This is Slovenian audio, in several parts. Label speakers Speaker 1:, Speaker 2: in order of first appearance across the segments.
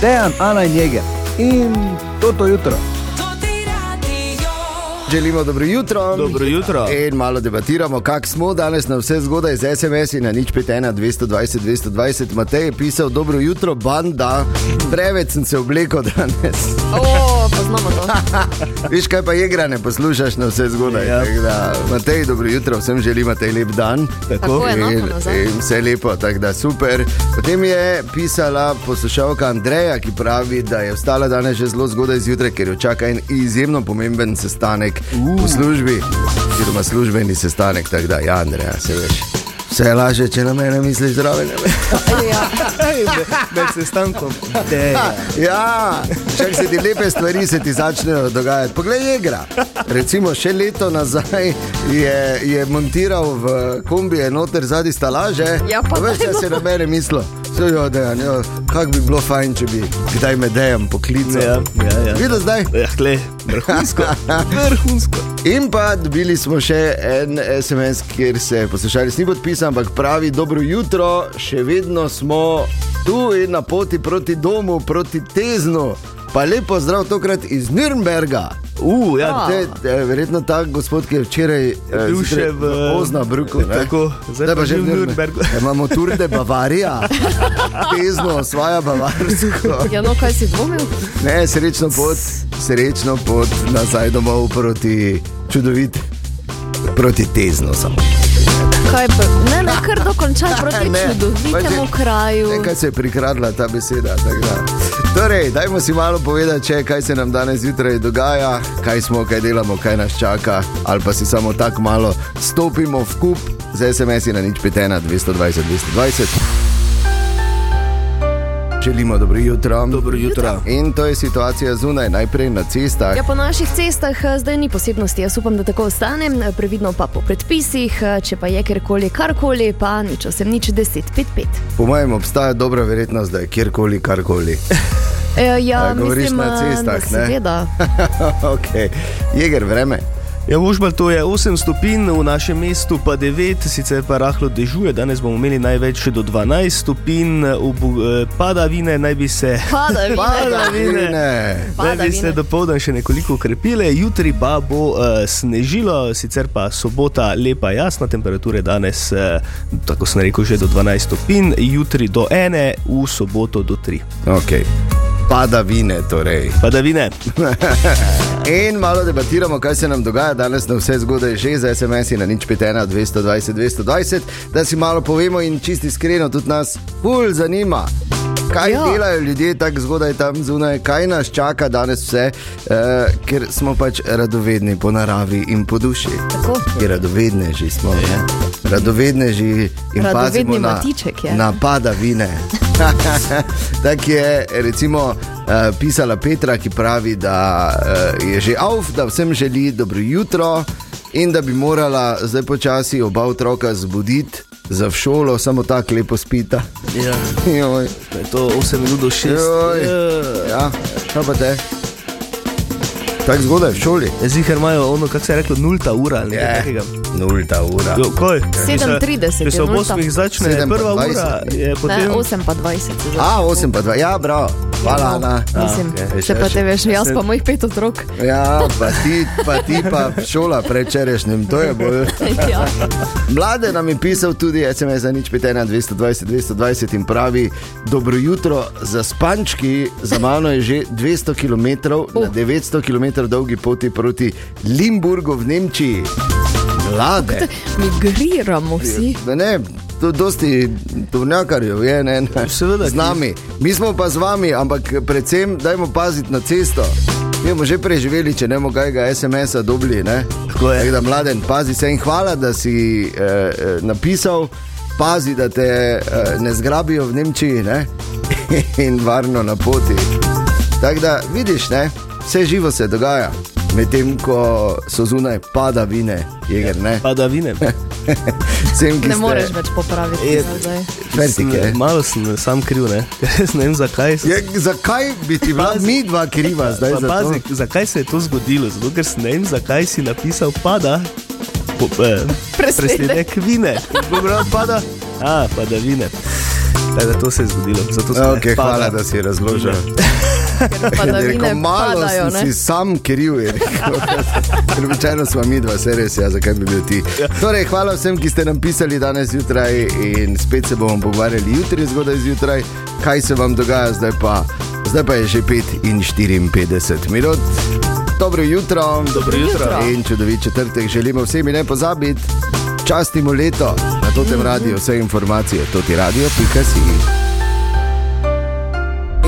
Speaker 1: Dejan, Ana in Jeger in toto jutro.
Speaker 2: Želimo dobro jutro.
Speaker 3: Dobro jutro.
Speaker 2: In malo debatiramo, kak smo danes na vse zgodaj z SMS in na nič 51 220 220. Matej je pisal dobro jutro, banda. Preveč sem se oblekel danes.
Speaker 4: O, poznamo to.
Speaker 2: Veš kaj pa igra ne poslušaš na vse zgodaj.
Speaker 3: Ja.
Speaker 2: Tako Da, Matej, dobro jutro, vsem želim Matej lep dan.
Speaker 4: Tako, enako
Speaker 2: In-
Speaker 4: nazaj.
Speaker 2: in Vse lepo, tako da super. Potem je pisala poslušalka Andreja, ki pravi, da je vstala danes že zelo zgodaj zjutraj, ker jo čaka en izjemno pomemben sestanek uh. v službi, oziroma službeni sestanek. Tako da, ja, Andreja, se veš. Vse je lažje, če na mene misliš zraven.
Speaker 3: Med sestankom. Dej.
Speaker 2: Ja, če se ti lepe stvari se ti začnejo dogajati. Poglej, igra. Recimo, še leto nazaj je, je montiral v kombije noter zadnji stalaže.
Speaker 4: Ja, pa
Speaker 2: veš, da se na mene mislo. Jo, dejan, jo, kak bi bilo fajn, če bi kdaj me dejem poklical.
Speaker 3: Ja, ja, ja.
Speaker 2: Videl zdaj?
Speaker 3: Ja, hle, vrhunsko. Vrhunsko.
Speaker 2: In pa dobili smo še en SMS, kjer se poslušalec ni podpisal, ampak pravi: Dobro jutro, še vedno smo tu in na poti proti domu, proti Teznu. Pa lepo zdrav tokrat iz Nürnberga.
Speaker 3: Uh, ja,
Speaker 2: Te, te, verjetno ta gospod, ki je včeraj eh,
Speaker 3: Bil še
Speaker 2: zjutraj
Speaker 3: v-
Speaker 2: Ozna Bruku. ne?
Speaker 3: Tako, zdaj pa
Speaker 2: Zdaj pa že
Speaker 3: živi
Speaker 2: v
Speaker 3: v
Speaker 2: Nürnbergu.
Speaker 3: Nürnbergu.
Speaker 2: Imamo tur de Bavarija, Tezno osvaja Bavarsko.
Speaker 4: Ja, no, kaj si dvomil?
Speaker 2: Ne, srečno pot, srečno pot nazaj domov proti čudovit, proti tezno samo.
Speaker 4: Kaj pa? Ne, ne, kar dokončaj proti
Speaker 2: Ne,
Speaker 4: čudovitemu
Speaker 2: pač-
Speaker 4: kraju.
Speaker 2: Nekaj se je prikradla ta beseda. tako da. Torej, dajmo si malo povedati, če, kaj se nam danes zjutraj dogaja, kaj smo, kaj delamo, kaj nas čaka, ali pa si samo tako malo stopimo v kup z SMS-i na nič pitena 220 220. Želimo dobro jutro.
Speaker 3: Dobro jutro.
Speaker 2: In to je situacija zunaj, najprej na cestah.
Speaker 4: Ja, po naših cestah eh, zdaj ni posebnosti, jaz upam, da tako ostane, eh, previdno pa po predpisih, eh, če pa je kjerkoli, karkoli, pa nič, osem nič, deset, pet, pet.
Speaker 2: Po mojem, obstaja dobra verjetnost, da je kjerkoli, karkoli.
Speaker 4: E, ja,
Speaker 2: A, govoriš
Speaker 4: mislim,
Speaker 2: na
Speaker 4: eh,
Speaker 2: cestah,
Speaker 4: da
Speaker 2: ne?
Speaker 4: seveda.
Speaker 2: okay. Jeger, vreme.
Speaker 3: Ja, Vožbal, to je 8 stopinj, v našem mestu pa 9, sicer pa rahlo dežuje, danes bomo imeli največ še do 12 stopinj, v Bu- eh, padavine naj bi se.
Speaker 4: Padavine.
Speaker 3: Padavine.
Speaker 2: Ne.
Speaker 3: Naj bi se
Speaker 4: Padavine.
Speaker 3: dopoldan še nekoliko ukrepile, jutri pa bo uh, snežilo, sicer pa sobota lepa, jasna, temperature danes, uh, tako sem rekel, že do 12 stopinj, jutri do 1, v soboto do 3.
Speaker 2: Okay. Padavine, torej.
Speaker 3: Padavine.
Speaker 2: In malo debatiramo, kaj se nam dogaja danes na vse zgodaj, že za SMS-i na nič 51, 220, 220, da si malo povemo in čisti iskreno, tudi nas pul zanima. Kaj ja.
Speaker 4: Ja.
Speaker 2: delajo ljudje tako zgodaj tam zunaj, kaj nas čaka danes vse, eh, ker smo pač radovedni po naravi in po duši.
Speaker 4: Tako.
Speaker 2: Ki radovedneži smo, ne? radovedneži in
Speaker 4: Radovedni
Speaker 2: pazimo na,
Speaker 4: matiček je.
Speaker 2: na padavine. Tako je recimo eh, pisala Petra, ki pravi, da eh, je že avf, da vsem želi dobro jutro in da bi morala zdaj počasi oba otroka zbuditi za v šolo, samo tako lepo spita.
Speaker 3: Ja,
Speaker 2: Joj,
Speaker 3: to je 8 minut do 6.
Speaker 2: joj.
Speaker 4: eh.
Speaker 2: Ja, kaj pa te? Tako zgodaj v šoli.
Speaker 3: Zihar imajo ono, kako se je reklo, nulta ura ali nekaj
Speaker 2: Ja.
Speaker 3: takega.
Speaker 2: nulta ura.
Speaker 3: Jo, Kaj?
Speaker 4: 7.30
Speaker 3: Če se
Speaker 4: je
Speaker 3: ob
Speaker 4: nulta.
Speaker 3: 8 začne
Speaker 2: 7 pa
Speaker 3: prva
Speaker 2: 20.
Speaker 3: ura, je
Speaker 4: Ne,
Speaker 3: potem
Speaker 4: 8 pa 20. je zdaj.
Speaker 2: A, 8 pa 2, ja, bravo. Hvala, Ana.
Speaker 4: No, Mislim,
Speaker 2: Ja, okej.
Speaker 4: če pa te veš, jaz pa mojih pet otrok.
Speaker 2: Ja, pa ti, pa ti pa šola prečerešnjem, to je bolj.
Speaker 4: ja.
Speaker 2: Mlade nam je pisal tudi SMS za nič 51, 220, 220 in pravi: Dobro jutro, za spančki, za mano je že 200 km na 900 km dolgi poti proti Limburgu v Nemčiji. Mlade.
Speaker 4: Migriramo vsi.
Speaker 2: Da Ne, tu dosti tovrnjakarjev je, ne, ne.
Speaker 3: Seveda,
Speaker 2: z nami. Mi smo pa z vami, ampak predvsem dajmo paziti na cesto. Mi bomo že preživeli, če ne bomo kaj ga SMS-a dobili. Ne?
Speaker 3: Tako je.
Speaker 2: Tako da mladen, pazi se in hvala, da si eh, eh, napisal, pazi, da te eh, ne zgrabijo v Nemčiji ne? in varno na poti. Tako da vidiš, ne? vse živo se dogaja, medtem ko so zunaj padavine, jeger, ne.
Speaker 3: padavine.
Speaker 2: Vsem, ki
Speaker 4: Ne
Speaker 2: ste-
Speaker 4: moreš več popraviti.
Speaker 3: Je-
Speaker 4: nazaj.
Speaker 2: Fertik je.
Speaker 3: Sem- Malo sem sam kriv, ne, Jaz ne vem zakaj. sem-
Speaker 2: Je, zakaj bi ti bila
Speaker 3: Pazi.
Speaker 2: mi dva kriva zdaj
Speaker 3: Pa
Speaker 2: za
Speaker 3: pazi,
Speaker 2: to?
Speaker 3: zakaj se je to zgodilo? Zato, ker sem ne vem, zakaj si napisal pada. Po, eh,
Speaker 4: Presledek.
Speaker 3: presledek vine. Dobro, pada. A, padavine. Tako da to se je zgodilo. Zato sem
Speaker 2: Okay, hvala, da si razložil. Je
Speaker 4: Padavine
Speaker 2: rekel, malo
Speaker 4: padajo,
Speaker 2: sem si
Speaker 4: ne?
Speaker 2: sam kriv, je rekel. Približno smo mi dva, se res, ja, zakaj bi bil ti. Torej, hvala vsem, ki ste nam pisali danes zjutraj in spet se bomo pogovarjali jutri zgodaj zjutraj, kaj se vam dogaja zdaj pa. Zdaj pa je že 5 in 54 minut. Dobro jutro. Dobro
Speaker 3: jutro.
Speaker 2: In čudovit četrtek želimo vsem in ne pozabiti, častimo leto na totem radiju, vse informacije, toti radio, pika si.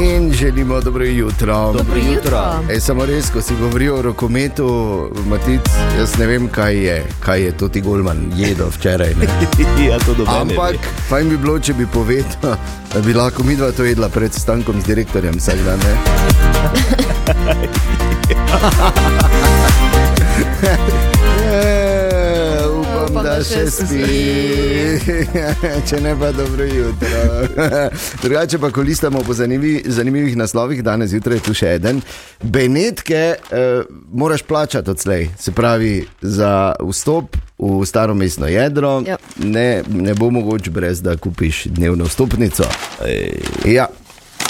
Speaker 2: In želimo dobro jutro.
Speaker 4: Dobro jutro.
Speaker 2: E, samo res, ko si govoril o rokometu, Matic, jaz ne vem, kaj je, kaj je to ti Golman jedel včeraj. Ne?
Speaker 3: ja, to dobro.
Speaker 2: Ampak fajn bi bilo, če bi povedal, da bi lahko mi dva to jedla pred stankom z direktorjem vsak dan. Ne? E, Upam,
Speaker 4: Upam,
Speaker 2: da
Speaker 4: da
Speaker 2: še
Speaker 4: še
Speaker 2: spi, če ne pa dobro jutro. Drugače pa kolistamo po zanimivi, zanimivih naslovih, danes zjutraj je tu še en. Benetke eh, moraš plačati odslej, se pravi za vstop v staro mestno jedro,
Speaker 4: Ja.
Speaker 2: ne, ne bo mogoče brez da kupiš dnevno vstopnico. Ja,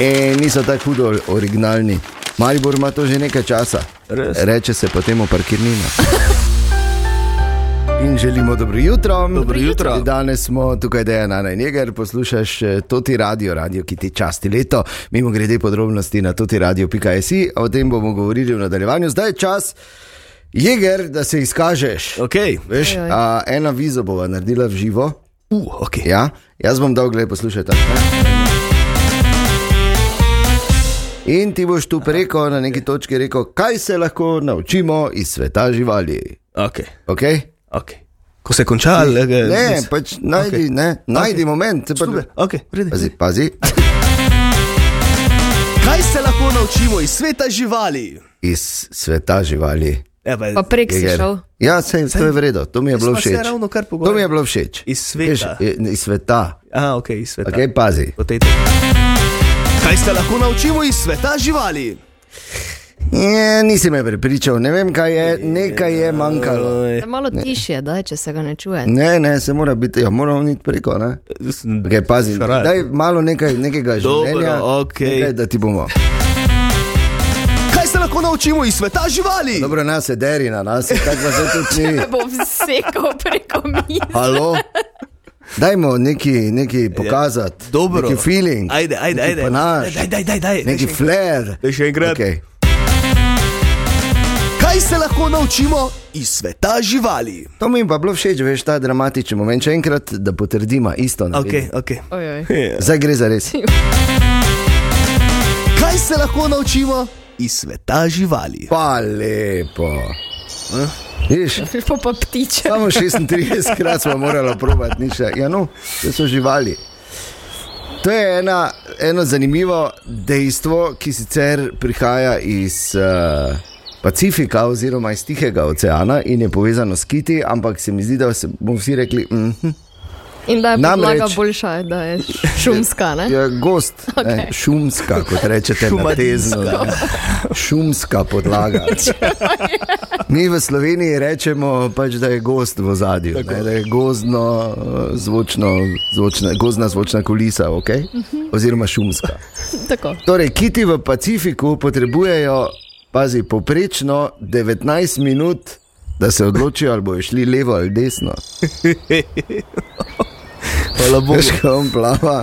Speaker 2: e, niso tako hudo originalni. Maribor ima to že nekaj časa,
Speaker 3: Res?
Speaker 2: reče se pa temu parkirnina. In želimo dobro jutro.
Speaker 3: Dobro jutro.
Speaker 2: Danes smo tukaj, da je na najniger, poslušaš eh, Toti Radio, radio, ki ti časti leto. Mimo grede podrobnosti na toti radio.js, o tem bomo govorili v nadaljevanju. Zdaj je čas, jeger, da se izkažeš.
Speaker 3: Okay.
Speaker 2: Veš,
Speaker 4: Oj, oj.
Speaker 2: a, ena vizo bova naredila v živo.
Speaker 3: Uh, okay.
Speaker 2: Ja, jaz bom dal gled poslušati. In ti boš tu preko na neki točki rekel, kaj se lahko naučimo iz sveta živali.
Speaker 3: Okay.
Speaker 2: Okay?
Speaker 3: Okay. Ko se konča, ali
Speaker 2: Ne, pač najdi, okay. ne, najdi okay. moment. se Pa,
Speaker 3: Okay, v redu.
Speaker 2: pazi, pazi,
Speaker 3: Kaj se lahko naučimo iz sveta živali?
Speaker 2: iz sveta živali.
Speaker 3: Ja, pa,
Speaker 4: Pa prek si
Speaker 2: Jeger.
Speaker 4: šel.
Speaker 2: Ja, sej, to je vredno, to mi je
Speaker 3: Jaz
Speaker 2: bilo
Speaker 3: sva se
Speaker 2: všeč.
Speaker 3: ravno kar
Speaker 2: To mi je bilo všeč.
Speaker 3: Iz sveta.
Speaker 2: Veš, i- iz sveta.
Speaker 3: Aha, okay, iz sveta.
Speaker 2: Okay, pazi.
Speaker 3: Po tej točki. Kaj se lahko naučimo iz sveta živali?
Speaker 2: Je, nisi me prepričal, ne vem, kaj je, nekaj je manjkalo.
Speaker 4: Da Malo tišje, da, če se ga ne čuje.
Speaker 2: Ne, ne, se mora biti, ja, moramo iti preko. Ne? Okay, pazi,
Speaker 3: Šaraj.
Speaker 2: daj malo nekaj, nekega
Speaker 3: Dobro,
Speaker 2: življenja,
Speaker 3: okej.
Speaker 2: nekaj, da ti bomo.
Speaker 3: Kaj se lahko naučimo iz sveta živali?
Speaker 2: Dobro, nas je deri na nas, tako pa se tudi ni.
Speaker 4: Te bo vsekal preko mize.
Speaker 2: Halo? Dajmo neki, neki pokazati,
Speaker 3: Ja. Dobro.
Speaker 2: neki feeling,
Speaker 3: Ajde, ajde,
Speaker 2: neki
Speaker 3: ajde.
Speaker 2: panaš,
Speaker 3: Daj, daj, daj, daj.
Speaker 2: neki
Speaker 3: Daj še-
Speaker 2: flair.
Speaker 3: Daj še enkrat.
Speaker 2: Okay.
Speaker 3: Kaj se lahko naučimo iz sveta živali?
Speaker 2: To mi je pa bilo všeč, veš, ta dramatičen moment. Še enkrat, da potrdimo isto. na
Speaker 3: Okay,
Speaker 2: videu.
Speaker 3: okay.
Speaker 4: Ojoj.
Speaker 2: Zdaj gre za res.
Speaker 3: Kaj se lahko naučimo iz sveta živali?
Speaker 2: Pa lepo. Eh? Viš,
Speaker 4: Po pa ptiče.
Speaker 2: Samo 36 krat smo morali probati, nič. ne. Ja, no, to so živali. To je ena, eno zanimivo dejstvo, ki sicer prihaja iz uh, Pacifika oziroma iz Tihega oceana in je povezano s kiti, ampak se mi zdi, da se bomo vsi rekli, da mm,
Speaker 4: In da je
Speaker 2: Namreč- Ja.
Speaker 4: podlaga boljša, da je šumska, ne?
Speaker 2: je gost, okay. ne, šumska, kot rečete, na tezno, ne. šumska podlaga. Mi v Sloveniji rečemo, pač, da je gost v zadju, ne, da je gozdno, eh, zvočno, zvočna, gozdna zvočna kulisa, okay? oziroma šumska.
Speaker 4: Tako.
Speaker 2: Torej, kiti v Pacifiku potrebujejo, pazi, poprečno 19 minut, da se odločijo, ali bojo šli levo ali desno.
Speaker 3: Hvala Bogu.
Speaker 2: Veš, ko on plava,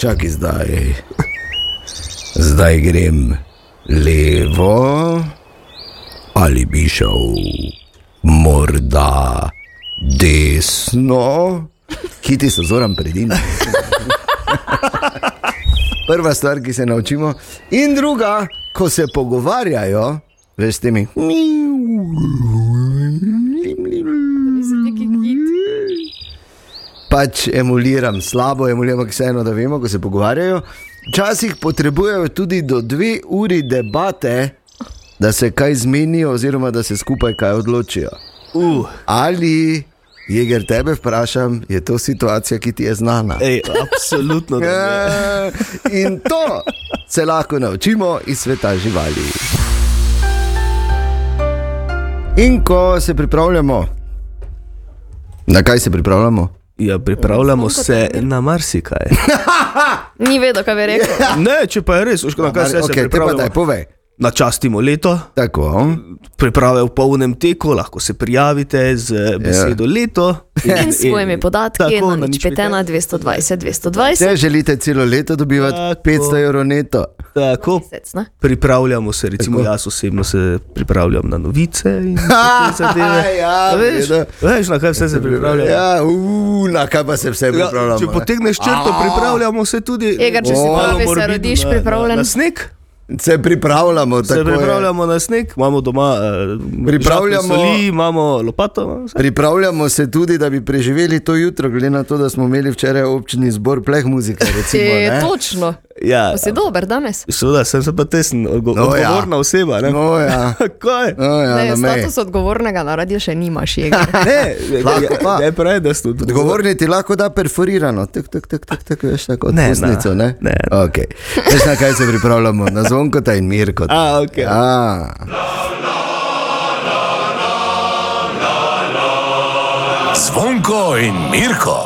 Speaker 2: čakaj zdaj. Zdaj grem levo ali bi šel morda desno. Kiti so zoran predina. Prva stvar, ki se naučimo, in druga, ko se pogovarjajo, veš, s temi. pač emuliram, slabo emuliram, ampak vseeno, da vemo, ko se pogovarjajo. Včasih potrebujejo tudi do dve uri debate, da se kaj zmenijo, oziroma da se skupaj kaj odločijo.
Speaker 3: Uh,
Speaker 2: Ali, Jeger, tebe vprašam, je to situacija, ki ti je znana?
Speaker 3: ej, absolutno. da ne.
Speaker 2: Ja, In to se lahko naučimo iz sveta živali. In ko se pripravljamo, na kaj se pripravljamo?
Speaker 3: Ja, pripravljamo
Speaker 4: Slonko
Speaker 3: se
Speaker 4: trdil.
Speaker 3: na marsikaj.
Speaker 4: Ni vedel, kaj bi rekel.
Speaker 3: Ne, če pa je res, veš, na kaj se,
Speaker 2: Ok,
Speaker 3: se
Speaker 2: Ja, te pa
Speaker 3: pripravljamo.
Speaker 2: daj, povej.
Speaker 3: Načastimo leto,
Speaker 2: Tako. hm?
Speaker 3: priprave v polnem teku, lahko se prijavite z
Speaker 2: Ja.
Speaker 3: eh, besedo yeah. leto.
Speaker 4: In s svojimi podatki
Speaker 3: ja, Tako,
Speaker 4: na nič petena 220 220.
Speaker 2: Če želite celo leto dobivati
Speaker 3: Tako.
Speaker 2: 500 evrov neto,
Speaker 3: Tako,
Speaker 4: Mesec, ne?
Speaker 3: pripravljamo se, recimo
Speaker 2: Tako.
Speaker 3: Tako. jaz osebno se pripravljam na novice in te zadeve.
Speaker 2: Ja,
Speaker 3: veš,
Speaker 2: vedno.
Speaker 3: veš, na kaj vse se pripravljamo.
Speaker 2: ja, u, na kaj pa se vse
Speaker 3: Ja, če
Speaker 2: pripravljamo? ne?
Speaker 3: potegneš črto, pripravljamo se tudi
Speaker 4: Egar, če si
Speaker 3: malo
Speaker 4: pravi, se
Speaker 3: morbidno
Speaker 4: rodiš
Speaker 3: na-
Speaker 4: pripravljen.
Speaker 3: Na, na sneg
Speaker 2: Se pripravljamo,
Speaker 3: se
Speaker 2: tako je.
Speaker 3: pripravljamo na sneg, imamo doma eh, žakljo
Speaker 2: Pripravljamo-
Speaker 3: soli, imamo lopato. imamo vse.
Speaker 2: Pripravljamo se tudi, da bi preživeli to jutro, glede na to, da smo imeli včeraj občini zbor pleh muzike. Recimo,
Speaker 4: Je
Speaker 2: ne?
Speaker 4: točno.
Speaker 3: Ja,
Speaker 4: Pa si dober danes.
Speaker 3: seveda sem se pa tesen, odgo
Speaker 2: No, ja.
Speaker 3: no, odgovorna ja. oseba. Ne?
Speaker 2: No, ja,
Speaker 3: Kaj?
Speaker 2: no, ja
Speaker 4: Ne,
Speaker 2: na meji.
Speaker 4: status odgovornega na radiju še nimaš, Ja. Egar.
Speaker 3: Ne,
Speaker 2: Lahko pa.
Speaker 3: ne, ne pravi, da ste odgovorni.
Speaker 2: Odgovorni ti lahko da perforirano, tako, tako, tako, tak, tak, veš, tako,
Speaker 3: Ne,
Speaker 2: ne, ne, ne.
Speaker 3: ne, ne.
Speaker 2: Okay. Veš, na kaj se pripravljamo, na zvonkota in mirko.
Speaker 3: A, okay. ja.
Speaker 2: Ja.
Speaker 5: Zvonko in Mirko.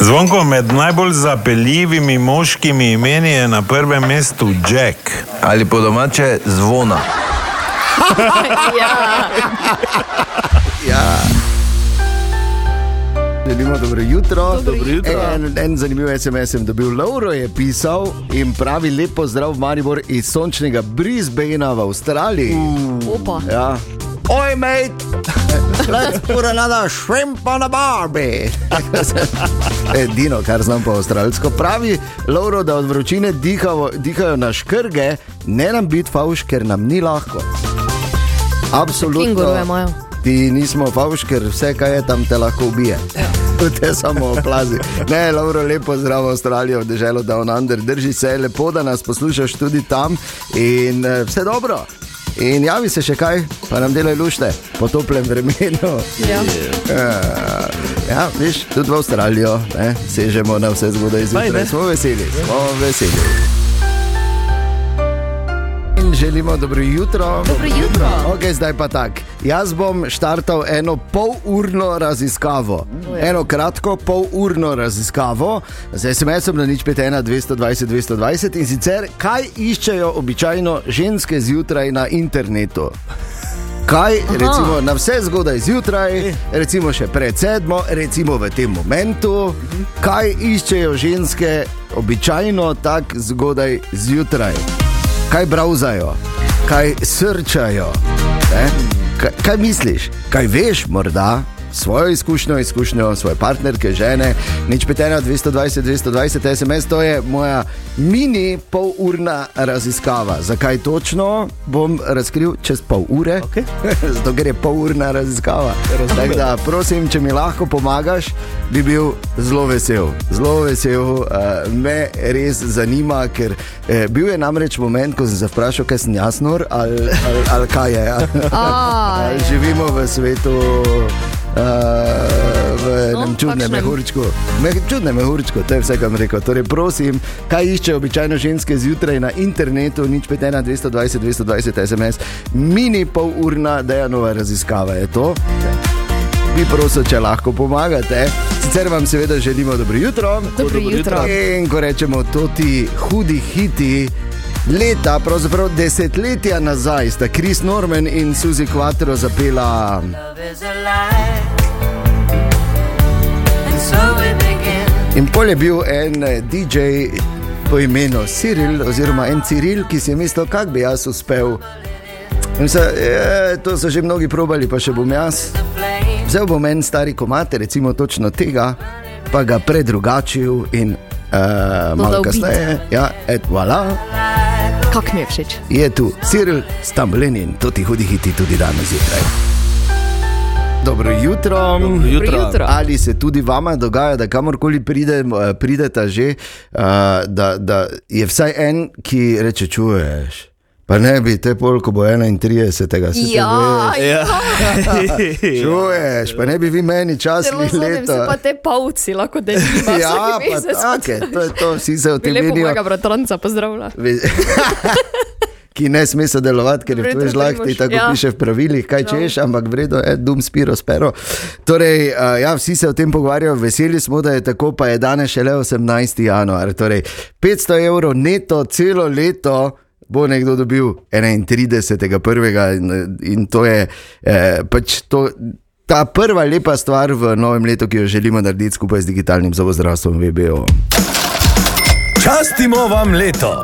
Speaker 6: Zvonko med najbolj zapeljivimi moškimi imeni je na prvem mestu Jack.
Speaker 5: Ali po domače zvona.
Speaker 4: Ja,
Speaker 2: Želimo dobro jutro.
Speaker 3: Dobro jutro.
Speaker 2: En, en zanimiv SMS sem dobil. Lauro je pisal in pravi lepo zdrav Maribor iz sončnega Brisbanea v Avstraliji.
Speaker 4: opa.
Speaker 2: Ja. Oj, mate, let's put another shrimp on a barbie. Edino, kar znam po avstralsko, pravi Lauro, da od vročine dihavo, dihajo na škrge, ne nam biti fauš, ker nam ni lahko.
Speaker 4: Kenguruje
Speaker 2: Absolutno.
Speaker 4: imajo.
Speaker 2: Ti nismo fauš, ker vse, kar je tam, te lahko ubije. Te samo oplazi. Ne, Lauro, lepo zdrav Avstralijo, deželo Down Under, drži se, lepo, da nas poslušaš tudi tam in eh, vse dobro. In javi se še kaj, pa nam delaj lušte po toplem vremenu.
Speaker 4: Ja.
Speaker 2: Ja, ja, veš, tudi v Avstralijo ne, sežemo na vse zgodaj zjutraj.
Speaker 3: Fajn, ne?
Speaker 2: Smo veseli, smo veseli. In želimo dobro jutro.
Speaker 4: Dobro jutro.
Speaker 2: Ok, zdaj pa tak. Jaz bom štartal eno polurno raziskavo.
Speaker 4: Oh, ja.
Speaker 2: Eno kratko polurno raziskavo z SMS-om na nič 51 220 220 in sicer kaj iščejo običajno ženske zjutraj na internetu. Kaj, recimo, na vse zgodaj zjutraj, recimo še pred sedmo, recimo v tem momentu, kaj iščejo ženske običajno tako zgodaj zjutraj? Kaj browsajo, kaj srčajo? ne? Kaj, kaj misliš, kaj veš morda? Svojo izkušnjo, izkušnjo svoje partnerke, žene, nič petena, 220, 220 SMS, to je moja mini polurna raziskava. Zakaj točno bom razkril čez pol ure?
Speaker 3: Okej.
Speaker 2: Zato, ker je polurna raziskava. Tako da, prosim, če mi lahko pomagaš, bi bil zelo vesel. Zelo vesel, uh, me res zanima, ker eh, bil je namreč moment, ko sem se vprašal, kaj sem jasnor ali, ali, ali kaj je. ja.
Speaker 4: Aj.
Speaker 2: Ali živimo v svetu. Uh, v
Speaker 4: No,
Speaker 2: enem čudnem
Speaker 4: kakšnem.
Speaker 2: mehurčku. Meh, čudnem mehurčku, to je vse, kar sem rekel. Torej, prosim, kaj iščejo običajno ženske zjutraj na internetu, nič 51, 220, 220 SMS, mini pol urna dejanova raziskava je to.
Speaker 4: Ja.
Speaker 2: Vi prosim, če lahko pomagate. Sicer vam seveda želimo dobro jutro.
Speaker 4: Dobro jutro.
Speaker 2: In ko rečemo, to ti hudi hiti. Leta, pravzaprav desetletja nazaj, sta Kris Norman in Suzi Quattro zapela. In pol je bil en eh, DJ po imenu Cyril, oziroma en Cyril, ki si je mislil, kako bi jaz uspel. In Se, je, to so že mnogi probali, pa še bom jaz. Vzel bom en stari komat, recimo točno tega, pa ga predrugačil in uh, malo
Speaker 4: Dodal beat.
Speaker 2: kasneje. Ja, et voilà,
Speaker 4: Kak mi je všeč.
Speaker 2: je tu Cyril Stamblin, to ti hudi hiti tudi danes zjutraj. Dobro jutro. Dobro
Speaker 4: jutro. jutro.
Speaker 2: Ali se tudi vama dogaja, da kamorkoli pridemo, eh, prideta že, eh, da, da je vsaj en, ki reče, čuješ. Pa ne bi te pol, ko bo 31, se
Speaker 4: Ja,
Speaker 3: Ja.
Speaker 2: Čuješ, pa ne bi vi meni
Speaker 4: zelo
Speaker 2: časili
Speaker 4: zgodim se pa
Speaker 2: leta.
Speaker 4: te pavci, lahko da jih imaš.
Speaker 2: Ja, pa take, to je to, vsi se o
Speaker 4: Ti
Speaker 2: tem
Speaker 4: lepo
Speaker 2: menijo.
Speaker 4: mojega bratranca pozdravlja.
Speaker 2: Ve- ki ne sme sodelovati, ker je v
Speaker 4: Vredno,
Speaker 2: tvoji žlahti,
Speaker 4: Primož,
Speaker 2: tako
Speaker 4: ja.
Speaker 2: ja. piše v pravilih, kaj češ, ampak vredno, eh, dum spiro, spero. Torej, eh, ja, vsi se o tem pogovarjajo, veseli smo, da je tako, pa je danes šele 18. januar. Torej, 500 evrov neto celo leto. Bo nekdo dobil 31.1. in, in to je eh, pač to, ta prva lepa stvar v novem letu, ki jo želimo narediti skupaj z digitalnim zobozdravstvom VBO.
Speaker 5: Častimo vam leto.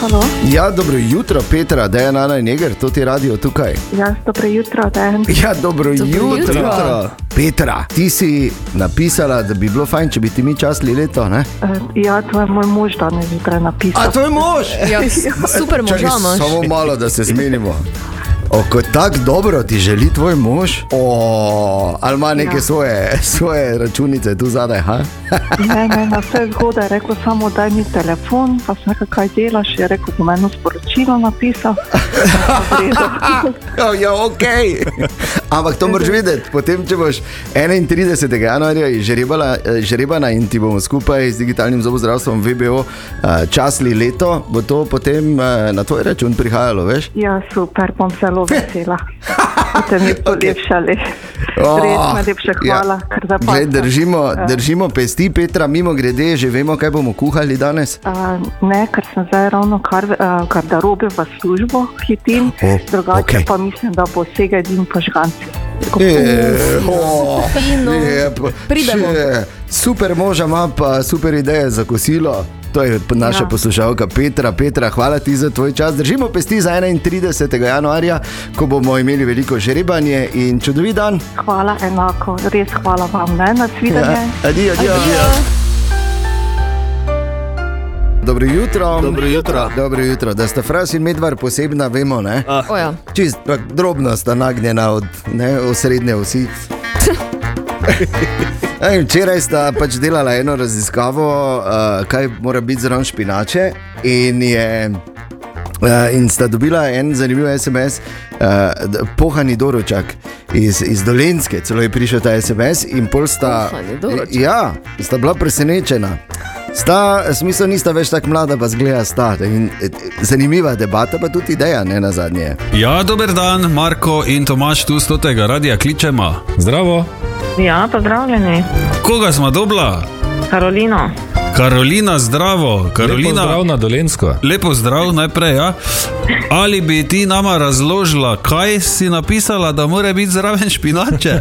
Speaker 7: Halo,
Speaker 2: Ja, dobro jutro, Petra, da je Ana Neger, to ti radio tukaj.
Speaker 7: ja, dobro jutro, Dan.
Speaker 2: Ja, dobro, dobro jutro.
Speaker 4: jutro.
Speaker 2: jutro. Petra, ti si napisala, da bi bilo fajn, če bi ti mi časli leto. Ne?
Speaker 7: Eh, Ja, to je moj mož danes zjutraj napisal.
Speaker 2: je mož!
Speaker 4: Ja, super no. moža imaš.
Speaker 2: Samo malo, da se zmenimo. O, kot tako dobro ti želi tvoj mož, o, ali ima neke ja.
Speaker 7: Ja.
Speaker 2: svoje, svoje računice tu zadaj. Ha?
Speaker 7: Ne, ne, na vse zgodaj je rekel, samo daj mi telefon, pa sem rekel, kaj delaš. Je rekel, da meni sporočilo napisal. V redu.
Speaker 2: Ja, ja, ok. Ampak to moraš vedeti. Potem, če boš 31. januarja žrebala, eh, žrebana in ti bomo skupaj z digitalnim zobozdravstvom VBO eh, časli leto, bo to potem eh, na tvoj račun prihajalo, veš?
Speaker 7: Ja, super, bom zelo vesela. Ste mi polepšali. Res najlepša
Speaker 2: Oh,
Speaker 7: hvala,
Speaker 2: Ja.
Speaker 7: ker Ja. zapomnim.
Speaker 2: Glej, držimo, držimo pesti, Petra, mimo grede, že vemo, kaj bomo kuhali danes.
Speaker 7: Uh, ne, ker sem zdaj ravno kar uh, garderobe v službo hitim,
Speaker 2: O,
Speaker 7: oh, drugače
Speaker 2: okej.
Speaker 7: okay. pa mislim, da bo vsega edin požganci.
Speaker 2: Je, o,
Speaker 4: Fino.
Speaker 2: lepo.
Speaker 4: Pridemo.
Speaker 2: ja, Še Super moža ima pa super ideje za kosilo. To je p- naša ja.
Speaker 7: Ja.
Speaker 2: poslušalka Petra. Petra, hvala ti za tvoj čas. Držimo pesti za 31. januarja, ko bomo imeli veliko žrebanje in čudovit dan.
Speaker 7: Hvala enako, res hvala vam, ne, na svidenje. Ja.
Speaker 2: Adijo, adijo. Dobro jutro. Dobro jutro. Dobro jutro. Da sta fras in medvar posebna, vemo, ne?
Speaker 4: Oja.
Speaker 2: Čist tak drobno sta nagnjena od ne, osrednje vsi. Ej, včeraj sta pač delala eno raziskavo, uh, kaj mora biti zraven špinače. In, je, uh, in sta dobila en zanimiv SMS, uh, d- pohani doručak iz, iz Dolenske, celo je prišel ta SMS. In pol sta,
Speaker 4: Pohani doruček.
Speaker 2: ja, sta bila presenečena. Sta, smisel nista več tako mlada, pa zgleda sta. In, eh, zanimiva debata, pa tudi ideja, ne na zadnje.
Speaker 8: Ja, dober dan, Marko in Tomaš, tu sto tega radia kličema. Zdravo.
Speaker 9: Ja, pozdravljeni,
Speaker 8: Koga smo dobila?
Speaker 9: Karolino.
Speaker 8: Karolina, zdravo. Karolina,
Speaker 10: Prav na Dolensko.
Speaker 8: lepo zdrav najprej. Ja. Ali bi ti nama razložila, kaj si napisala, da mora biti zraven špinače?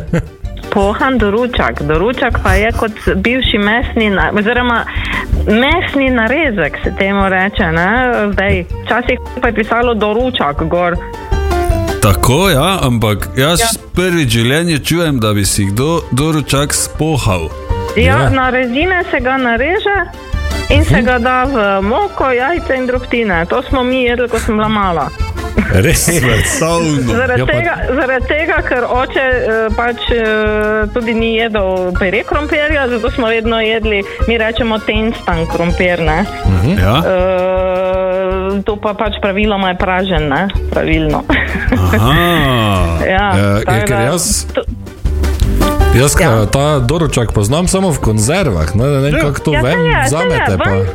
Speaker 9: Pohan doručak. Doručak pa je kot bivši mesni, na, oziroma mesni narezek se temu reče. Ne? Zdaj, včasih pa je pisalo doručak gor.
Speaker 8: Tako, ja, ampak jaz ja. prvi življenje čujem, da bi si kdo doručak spohal.
Speaker 9: Ja, ja. Na rezine se ga nareže in
Speaker 10: Hm?
Speaker 9: se ga da v moko, jajce in drobtine. To smo mi jedli, ko sem bila mala.
Speaker 10: Res.
Speaker 8: Savno.
Speaker 9: Zaradi, ja,
Speaker 10: Ja, pa-
Speaker 9: tega, zaradi tega, ker oče eh, pač eh, tudi ni jedel pere krompirja, zato smo vedno jedli, mi rečemo, tenstan krompir. Ne?
Speaker 10: Mhm.
Speaker 8: Ja?
Speaker 9: Eh, to pa pač praviloma je pražen, ne? pravilno.
Speaker 8: Aha.
Speaker 9: ja,
Speaker 10: Ja,
Speaker 9: tako
Speaker 10: je, ker
Speaker 9: da-
Speaker 10: jaz-
Speaker 9: to-
Speaker 10: Jaz ja. ta doručak poznam samo v konzervah, ne, ne vem, kako to
Speaker 9: Ja,
Speaker 10: ja,
Speaker 9: saj
Speaker 10: vem,
Speaker 9: je, saj je,
Speaker 10: zamete pa.
Speaker 9: ven,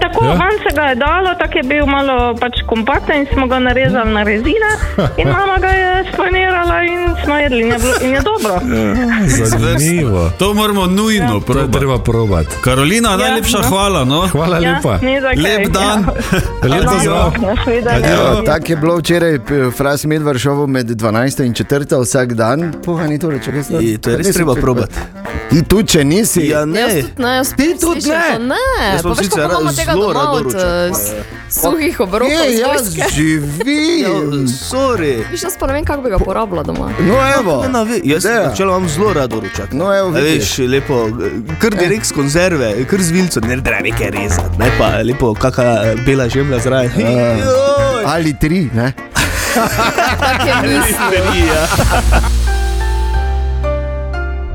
Speaker 9: tako
Speaker 10: Ja.
Speaker 9: ja. ven se ga je dalo, tako je bil malo pač kompakten in smo ga narezali na rezine in mama ga je spanirala in smo jedli in je, bilo, in je dobro.
Speaker 10: Zanimivo.
Speaker 8: To moramo nujno ja.
Speaker 10: To je
Speaker 8: probati.
Speaker 10: treba probati.
Speaker 8: Karolina, ja, najlepša ja. hvala. No?
Speaker 10: Hvala ja,
Speaker 9: Ja,
Speaker 10: lepa.
Speaker 9: ni za kaj,
Speaker 8: Lep dan.
Speaker 9: Ja.
Speaker 10: Lep pozdrav.
Speaker 2: Ja, Tako je bilo včeraj, p- Fras Medvar šel med 12 in 4 vsak dan, pohani to reče, kaj
Speaker 3: Je, to je res treba probati.
Speaker 2: Ti tu, če nisi.
Speaker 3: Ja,
Speaker 4: Jaz
Speaker 3: ne.
Speaker 4: tudi ne, jaz pač
Speaker 2: Ti tudi
Speaker 4: slišim
Speaker 2: ne.
Speaker 4: to, Ne,
Speaker 3: Jaz
Speaker 4: pa
Speaker 3: imam
Speaker 4: veš,
Speaker 3: sicer
Speaker 4: kako imamo
Speaker 3: raz
Speaker 4: tega
Speaker 3: zelo
Speaker 4: doma
Speaker 3: rad
Speaker 4: od
Speaker 3: doruček,
Speaker 4: eh, s- suhih obrokov.
Speaker 2: Je,
Speaker 4: iz
Speaker 2: jaz
Speaker 4: vojske.
Speaker 2: živim.
Speaker 3: Ja, Sorry.
Speaker 4: Viš, jaz pa ne vem, kako bi ga porabila doma.
Speaker 2: No, evo.
Speaker 3: Ne, ne, ve- jaz
Speaker 2: Ideja.
Speaker 3: načeloma imam zelo rad doručak.
Speaker 2: No, evo,
Speaker 3: A
Speaker 2: vidiš.
Speaker 3: veš, lepo, kar direkt z konzerve, kar z vilco, ne drevi, ker rezati, ne Ja. pa lepo, kakšna bela žemlja zraven. Joj.
Speaker 2: Ali tri, ne? Ja.
Speaker 3: ja.
Speaker 4: Take misli.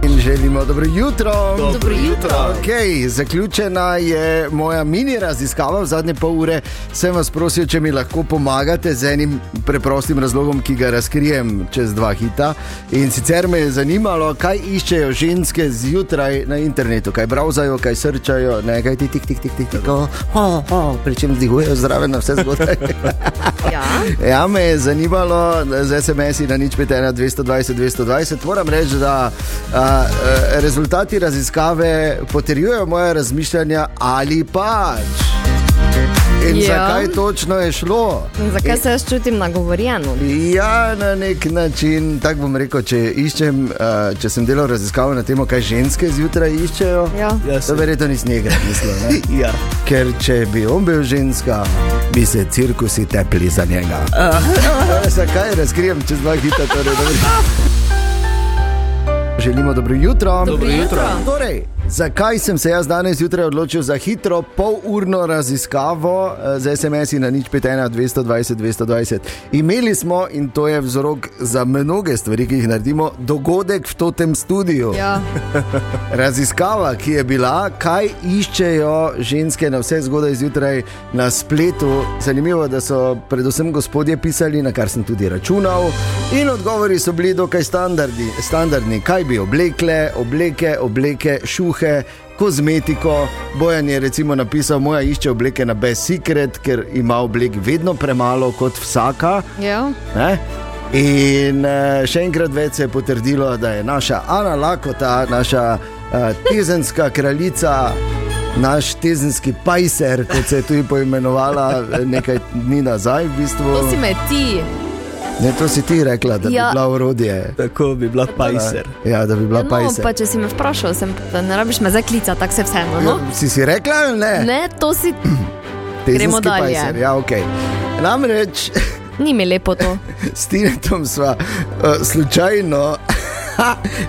Speaker 2: In želimo dobro jutro.
Speaker 4: Dobro jutro.
Speaker 2: Okay, zaključena je moja mini raziskava v zadnje pol ure. Sem vas prosil, če mi lahko pomagate z enim preprostim razlogom, ki ga razkrijem čez dva hita. In sicer me je zanimalo, kaj iščejo ženske zjutraj na internetu, kaj browsajo, kaj srčajo, ne, kaj ti tik, tik, tik, tik, Oh, tik, pričem zdigujejo zraven na vse zgodbe.
Speaker 4: Ja.
Speaker 2: Ja, me je zanimalo z SMS-i na nič 51, 220, 220. Moram reči, da a, a, e, rezultati raziskave potrjujejo moje razmišljanja ali pač. In
Speaker 4: Ja.
Speaker 2: ja. zakaj točno je šlo?
Speaker 4: In zakaj se jaz čutim nagovorjeno?
Speaker 2: Ja, na nek način, tako bom rekel, če iščem, uh, če sem delal raziskavo na temo, kaj ženske zjutraj iščejo,
Speaker 4: Ja.
Speaker 3: Ja,
Speaker 2: to
Speaker 3: se-
Speaker 2: verjetno nisi njega mislil. ne?
Speaker 3: Ja.
Speaker 2: Ker če bi on bil ženska, bi se cirkusi tepli za njega. Torej, Zakaj razkrijem čez dva hita? Torej, dobro. Želimo dobro jutro.
Speaker 4: Dobro jutro.
Speaker 2: Torej, zakaj sem se jaz danes zjutraj odločil za hitro, polurno raziskavo eh, z SMS-i na nič 51, 220, 220? Imeli smo, in to je vzrok za mnoge stvari, ki jih naredimo, dogodek v tem studiu.
Speaker 4: Ja.
Speaker 2: Raziskava, ki je bila, kaj iščejo ženske na vse zgodaj zjutraj na spletu. Zanimivo je, da so predvsem gospodje pisali, na kar sem tudi računal, in odgovori so bili dokaj standardi, standardni. Kaj bi oblekle, obleke, obleke, šuhe. Kozmetiko, Bojan je recimo napisal, moja išče obleke na Best Secret, ker ima oblek vedno premalo kot vsaka.
Speaker 4: Ja.
Speaker 2: Ne? In eh, še enkrat več se je potrdilo, da je naša Ana Lakota, naša eh, tezenska kraljica, naš tezenski pajser, kot se je tudi poimenovala eh, nekaj dni nazaj. V bistvu.
Speaker 4: To si me ti.
Speaker 2: ne, to si ti rekla, da
Speaker 4: Ja.
Speaker 2: bi bila urodje.
Speaker 3: Tako bi bila pajser.
Speaker 2: Ja, da bi bila
Speaker 4: No,
Speaker 2: pajser.
Speaker 4: pa če si me vprašal, sem, da ne rabiš me zaklicati, tako se vseeno. No?
Speaker 2: Ja, Si si rekla ali ne?
Speaker 4: Ne, to si
Speaker 2: Tezenski
Speaker 4: gremo dalje.
Speaker 2: Pajser. Ja, okay. Namreč
Speaker 4: ni mi lepo to.
Speaker 2: s Tinetom sva uh, slučajno.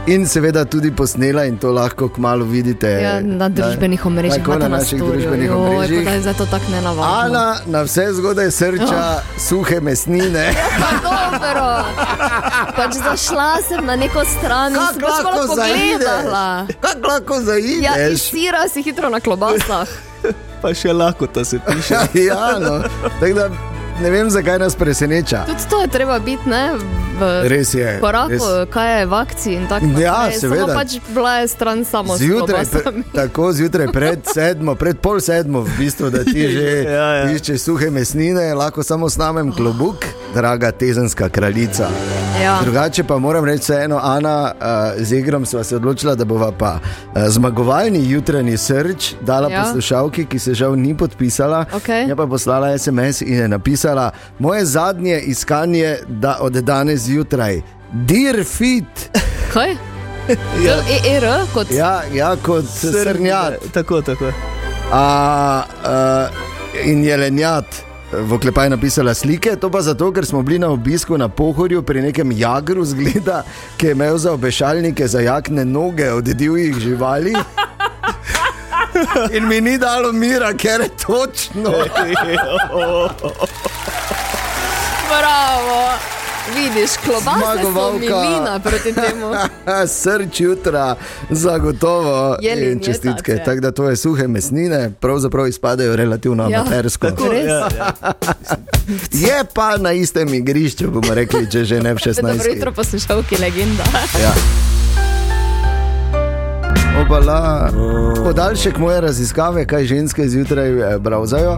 Speaker 2: In seveda tudi posnela, in to lahko kmalo vidite
Speaker 4: Ja, na družbenih omrežjih,
Speaker 2: Eh, Tako
Speaker 4: pa
Speaker 2: na
Speaker 4: to na
Speaker 2: naših
Speaker 4: storju.
Speaker 2: družbenih
Speaker 4: Joj,
Speaker 2: omrežjih.
Speaker 4: pa da je Zdaj to tako nenavadno.
Speaker 2: Ana na vse zgodaj
Speaker 4: Oh.
Speaker 2: srča suhe mesnine.
Speaker 4: Pa dobro. Pač zašla sem na neko stran in sem
Speaker 2: Kako
Speaker 4: pač malo
Speaker 2: lahko
Speaker 4: pogledala.
Speaker 2: zaideš? Kako lahko
Speaker 4: Ja, iz
Speaker 2: zaideš?
Speaker 4: sira si hitro na klobasah.
Speaker 3: Pa še lahko ta se piše.
Speaker 2: Ja, ja, no. Tako da ne vem, zakaj nas preseneča.
Speaker 4: Tudi to je treba biti, ne? V
Speaker 2: Res je.
Speaker 4: koraku,
Speaker 2: res.
Speaker 4: kaj je v akciji in tako
Speaker 2: Ja,
Speaker 4: naprej. Samo
Speaker 2: seveda.
Speaker 4: pač bila je stran samo s
Speaker 2: Zjutraj, pre,
Speaker 4: klobasami.
Speaker 2: tako zjutraj, pred sedmo, pred pol sedmo, v bistvu, da ti že
Speaker 3: Ja, ja.
Speaker 2: iščeš suhe mesnine, lahko samo snamem klobuk, draga tezenska kraljica.
Speaker 4: Ja.
Speaker 2: Drugače pa moram reči, vseeno, Ana, uh, z igrom sva se odločila, da bova pa uh, zmagovalni jutranji srč dala
Speaker 4: Ja.
Speaker 2: ja. poslušalki, ki se žal ni podpisala.
Speaker 4: Okej.
Speaker 2: Je pa poslala SMS in je napisala: Moje zadnje iskanje da od danes zjutraj, dir fit.
Speaker 4: Kaj? Ja. ER kot
Speaker 2: Ja,
Speaker 4: ja.
Speaker 2: ja kot srnjat.
Speaker 3: Tako, tako.
Speaker 2: a, a, in jelenjat. V oklepaj je napisala slike, to pa zato, ker smo bili na obisku na Pohorju pri nekem jagru, zgleda, ki je imel za obešalnike zajakne noge od divjih živali. In mi ni dalo mira, ker je točno.
Speaker 4: bravo. Vidiš, klobasa so
Speaker 2: Zmagovalka.
Speaker 4: milina proti temu.
Speaker 2: Srč jutra, zagotovo.
Speaker 4: Jelen
Speaker 2: in
Speaker 4: je
Speaker 2: čestitke.
Speaker 4: tak, ja.
Speaker 2: Tako da to je suhe mesnine, pravzaprav izpadajo relativno
Speaker 4: Ja,
Speaker 2: amatersko.
Speaker 4: Res?
Speaker 3: Ja, ja.
Speaker 2: Je pa na istem igrišču, bomo rekli, če že ne v 16.
Speaker 4: Dobro jutro poslušalki, legenda.
Speaker 2: Ja. Obala,
Speaker 3: No.
Speaker 2: podaljšek moje raziskave, kaj ženske zjutraj eh, browsajo.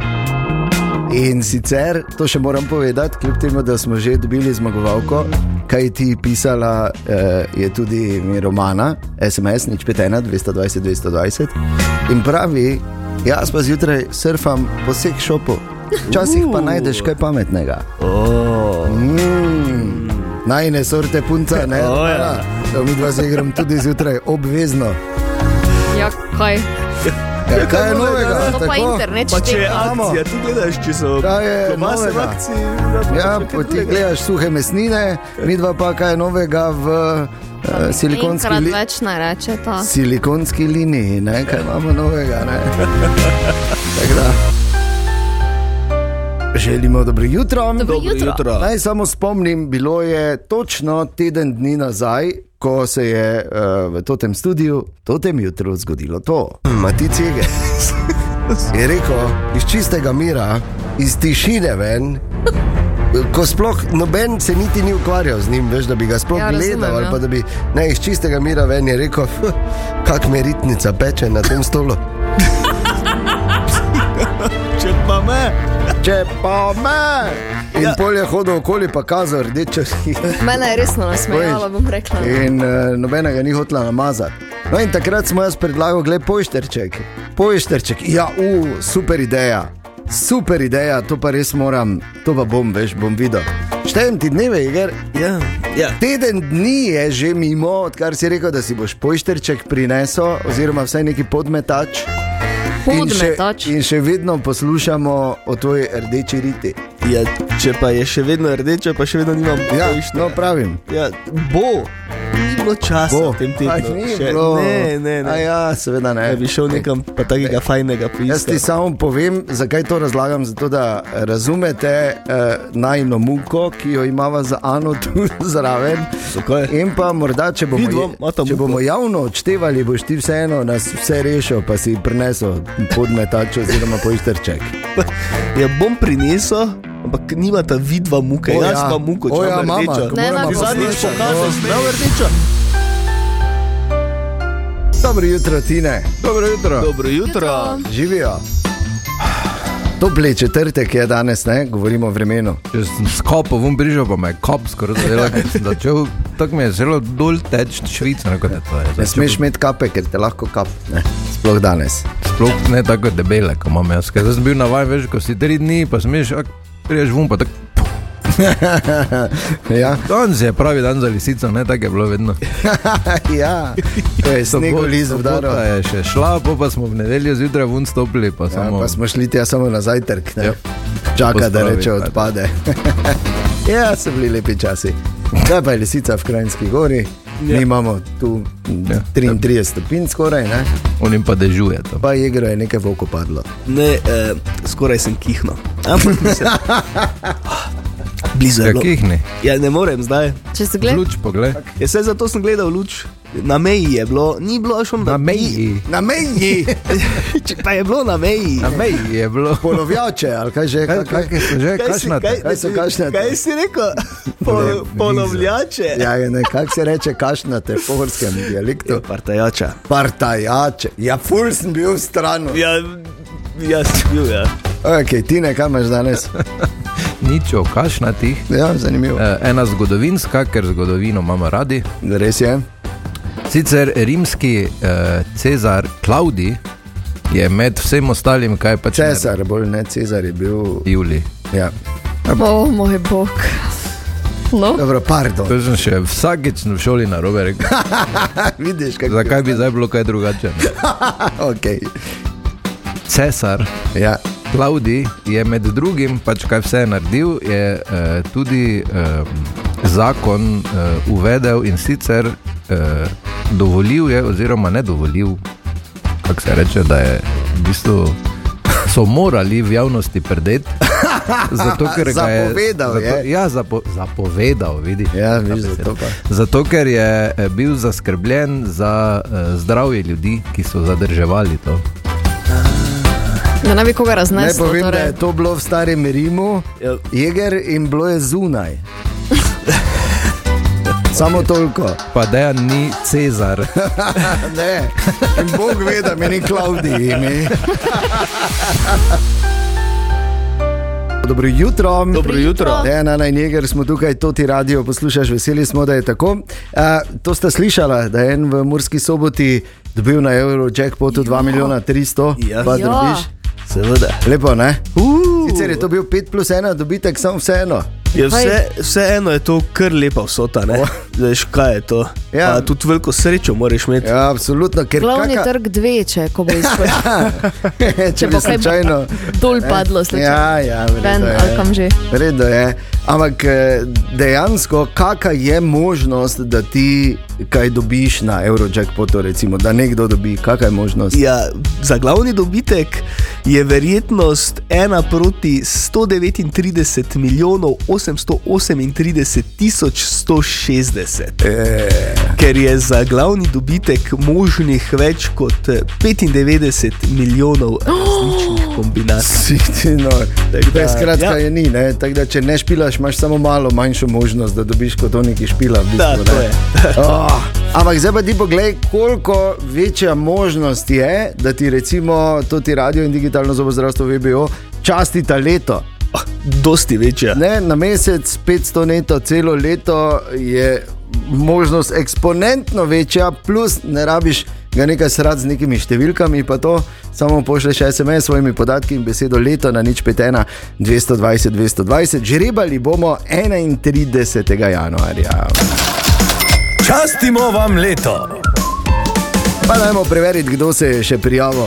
Speaker 2: In sicer, to še moram povedati, kljub temu, da smo že dobili zmagovalko, kaj ti pisala eh, je tudi mi Romana, SMS, nič 51, 220, 220. In pravi, jaz pa zjutraj surfam po vseh šopu, včasih pa najdeš kaj pametnega. Mm, najne sorte punca, ne.
Speaker 3: O, ja.
Speaker 2: Romana? Da mi dva se igram tudi zjutraj, obvezno.
Speaker 4: Ja, kaj?
Speaker 2: Ja, kaj je novega?
Speaker 4: To pa
Speaker 2: Tako?
Speaker 4: internet
Speaker 3: Pa če je
Speaker 4: šteka.
Speaker 2: Amo.
Speaker 3: akcija, ti gledaš, če so
Speaker 2: Kaj je
Speaker 3: klobase v
Speaker 2: novega?
Speaker 3: akciji. da pa
Speaker 2: Ja,
Speaker 3: še kaj
Speaker 2: po ti
Speaker 3: drugega.
Speaker 2: gledaš suhe mesnine, mi dva pa kaj je novega v uh, silikonski,
Speaker 4: Enkrat
Speaker 2: li
Speaker 4: več no. ne reče ta.
Speaker 2: silikonski liniji, ne? kaj imamo novega. ne? Tako da. Želimo dobro jutro.
Speaker 4: Dobro jutro.
Speaker 2: Naj samo spomnim, bilo je točno teden dni nazaj, ko se je uh, v tem studiu, tem jutru zgodilo to. Matice je, je rekel, iz čistega mira, iz tišine ven. Ko sploh noben se niti ni ukvarjal z njim, veš, da bi ga sploh
Speaker 11: Ja,
Speaker 2: ja,
Speaker 11: razumem,
Speaker 2: gledal, ali
Speaker 11: ja.
Speaker 2: pa da bi ne, iz čistega mira ven je rekel, "Hm, kak meritnica peče na tem stolu.
Speaker 3: Če pa me.
Speaker 2: Če pa me. In ja. pol je hodil okoli, pa kazal rdeče slike.
Speaker 4: Mene je resno nasmejala,
Speaker 2: Veš.
Speaker 4: bom rekla.
Speaker 2: In uh, nobenega ni hotela namazati. No, in takrat smo jaz predlagali, gled, pošterček, pošterček, ja, u, super ideja, super ideja, to pa res moram, to pa bom, veš, bom videl. Štejem ti dneve, Iger.
Speaker 3: Ja, ja.
Speaker 2: Teden dni je že mimo, odkar si rekel, da si boš pošterček prinesel, oziroma vsaj neki podmetač.
Speaker 4: Podmetač.
Speaker 2: In še, in še vedno poslušamo o tvoji rdeči riti.
Speaker 3: Ja, če pa je še vedno rdeče, pa še vedno nimam
Speaker 2: Ja, no, pravim.
Speaker 3: Ja, bo. Ni bilo časa
Speaker 2: Bo.
Speaker 3: v tem tednu.
Speaker 2: Aj, ni
Speaker 3: še.
Speaker 2: bilo.
Speaker 3: Ne, ne, ne.
Speaker 2: A ja, seveda ne.
Speaker 3: Ja, bi šel nekam pa takega fajnega
Speaker 2: Jaz ti
Speaker 3: poiskati.
Speaker 2: samo povem, zakaj to razlagam. Zato, da razumete eh, najno muko, ki jo imamo za Ano tu zraven. In pa morda, če bomo,
Speaker 3: Vidva
Speaker 2: je, če bomo javno odštevali, boš ti vseeno nas vse rešil, pa si prinesel podmetač oziroma poisterček.
Speaker 3: Ja, bom prinesel, ampak nimata vidva muke.
Speaker 2: O,
Speaker 3: Jaz
Speaker 2: ja.
Speaker 3: pa muko,
Speaker 2: O,
Speaker 3: če
Speaker 2: ja,
Speaker 3: ja,
Speaker 2: mama,
Speaker 3: rdeča.
Speaker 2: ko Ne, morava mama,
Speaker 3: zadnjič
Speaker 2: poslušati.
Speaker 3: pokazal,
Speaker 2: No.
Speaker 3: prav rdeča.
Speaker 2: Dobro jutro, Tine. Dobro jutro.
Speaker 3: Dobro jutro.
Speaker 2: Živijo. Topli četrtek je danes, ne? govorimo o vremenu.
Speaker 1: Če sem skopal, vum brižal pa me je kop skoraj zadelo, ker sem začel, tako mi je zelo dol teč švica.
Speaker 2: Ne smeš imeti kape, ker te lahko kap, ne? sploh danes.
Speaker 1: Sploh ne tako debele, kot imam jaz. Ker sem bil navaden, veš, ko si tri dni, pa smeš, ak, priješ vum, pa tako.
Speaker 2: ja.
Speaker 1: Danes je pravi dan za lisico, ne tako je bilo vedno.
Speaker 2: ja, to je snegov list udaril.
Speaker 1: Ta je še šla, pol pa smo v nedeljo zjutraj vun stopili, pa
Speaker 2: Ja,
Speaker 1: samo.
Speaker 2: pa smo šli tja samo na zajtrk, ne?
Speaker 1: Ja.
Speaker 2: čaka, da
Speaker 1: Pospravi,
Speaker 2: reče
Speaker 1: tako.
Speaker 2: odpade. ja, so bili lepi časi. Kaj pa je lisica v Krajinski gori, ja. mi imamo tu ja. 33 stopinj skoraj, ne?
Speaker 1: Onim pa dežuje tam.
Speaker 2: pa igro je nekaj voko padlo.
Speaker 3: Ne, eh, skoraj sem kihnil. Ampak mislim, blizu je.
Speaker 1: Ja,
Speaker 3: bilo.
Speaker 1: kihni.
Speaker 3: Ja, ne morem zdaj.
Speaker 4: Če se gledaš,
Speaker 1: Luč pogled.
Speaker 3: Ja, vse zato sem gledal luč. Na meji je bilo, ni bilo šum. Na meji.
Speaker 2: Na meji.
Speaker 3: Če pa je bilo na meji.
Speaker 1: Na meji je bilo.
Speaker 2: Polovjače, ali kaj že?
Speaker 1: Kaj, kaj, kaj so že,
Speaker 3: Kaj si,
Speaker 1: kašnate?
Speaker 3: kaj,
Speaker 2: Kaj so kašnate?
Speaker 3: Kaj si rekel? Pol, polovljače.
Speaker 2: Ja, je ne, kako se reče, kašnate v pohorskem dialektu.
Speaker 3: Partajača.
Speaker 2: Partajače, ja, ful sem bil stran.
Speaker 3: Ja, jaz sem bil, ja.
Speaker 2: Ok, ti ne, kaj imaš danes?
Speaker 1: Nič o kašnatih.
Speaker 2: Ja, zanimivo.
Speaker 1: Eh, Ena zgodovinska, ker zgodovino imamo radi.
Speaker 2: Res je.
Speaker 1: Sicer rimski eh, Cezar Klaudi je med vsem ostalim, kaj pač pa
Speaker 2: Cesar, bolj ne Cezar je bil.
Speaker 1: Juli.
Speaker 2: Ja.
Speaker 4: o moj bog. No,
Speaker 2: Dobro, pardon.
Speaker 1: To sem še vsakeč v šoli na robe rekel.
Speaker 2: Vidiš, kako
Speaker 1: Zakaj bi zdaj bilo kaj drugače? ne?
Speaker 2: Okay.
Speaker 1: Cesar
Speaker 2: Ja.
Speaker 1: Klaudi je med drugim, pač kaj vse je naredil, je eh, tudi eh, zakon eh, uvedel in sicer eh, dovolil je, oziroma ne dovolil, kako se reče, da je v bistvu. So morali v javnosti predeti, zato ker ga je.
Speaker 2: Zapovedal
Speaker 1: zato,
Speaker 2: je.
Speaker 1: Ja, zapo, zapovedal, vidiš.
Speaker 2: Ja, vidiš, zato pa.
Speaker 1: Zato, ker je eh, bil zaskrbljen za eh, zdravje ljudi, ki so zadrževali to.
Speaker 4: da ne bi koga
Speaker 2: Naj
Speaker 4: raznesel.
Speaker 2: povem, da
Speaker 4: Torej.
Speaker 2: je to bilo v starem Rimu,
Speaker 3: Ja.
Speaker 2: jeger in bilo je zunaj. Samo toliko.
Speaker 1: Pa da ni Cezar.
Speaker 2: Ne, in Bog ve, da meni Klaudij ime. Dobro jutro.
Speaker 3: Dobro jutro.
Speaker 2: Ena na njeger smo tukaj, to ti radio poslušaš, veseli smo, da je tako. A, to ste slišala, da je en v Murski soboti dobil na Euro jackpotu 2 milijona 300,
Speaker 3: Ja.
Speaker 2: pa
Speaker 4: Ja.
Speaker 2: dobiš.
Speaker 3: Seveda.
Speaker 2: Lepo, ne?
Speaker 3: Uh,
Speaker 2: Sicer je to bil 5 plus 1 dobitek, samo vseeno.
Speaker 3: je Ja, vse, vseeno je to kar lepa vsota, ne? Veš, kaj je to.
Speaker 2: Ja.
Speaker 3: Ja. Pa tudi veliko srečo moraš imeti. Ja.
Speaker 2: Ja, absolutno, ker
Speaker 4: Glavni
Speaker 2: kaka- Ja.
Speaker 4: trg dve, če ko bo izpadlo.
Speaker 2: če
Speaker 4: Če
Speaker 2: bi
Speaker 4: bo kaj
Speaker 2: slučajno.
Speaker 4: dol padlo, slučajno.
Speaker 2: Ja, ja, v redu
Speaker 4: Ven,
Speaker 2: je.
Speaker 4: ali kam že.
Speaker 2: V redu je. Ampak eh, dejansko, kakšna je možnost, da ti kaj dobiš na Eurojackpotu, recimo, da nekdo dobi, kakšna je možnost?
Speaker 3: Ja, za glavni dobitek je verjetnost 1 proti 139 milijonov 838 tisoč 160.
Speaker 2: Eh,
Speaker 3: ker je za glavni dobitek možnih več kot eh, 95 milijonov različnih kombinacij.
Speaker 2: No,
Speaker 3: Tako da,
Speaker 2: Brez kratka
Speaker 3: ja.
Speaker 2: ja. je ni, ne? tako da če ne špilaš, imaš samo malo manjšo možnost, da dobiš kot oni, ki špila. V bistvu,
Speaker 3: Da, to
Speaker 2: ne.
Speaker 3: je.
Speaker 2: oh, ampak zdaj pa ti pogled, koliko večja možnost je, da ti recimo to ti radio in digitalno zobozdravstvo VBO časti ta leto.
Speaker 3: Dosti večja.
Speaker 2: Ne, na mesec 500 neto, celo leto je možnost eksponentno večja, plus ne rabiš ga nekaj srad z nekimi številkami, pa to samo pošleš SMS s svojimi podatki in besedo leto na nič petena 220 220. Žrebali bomo 31. januarja.
Speaker 5: Častimo vam leto.
Speaker 2: Pa dajmo preveriti, kdo se je še prijavil.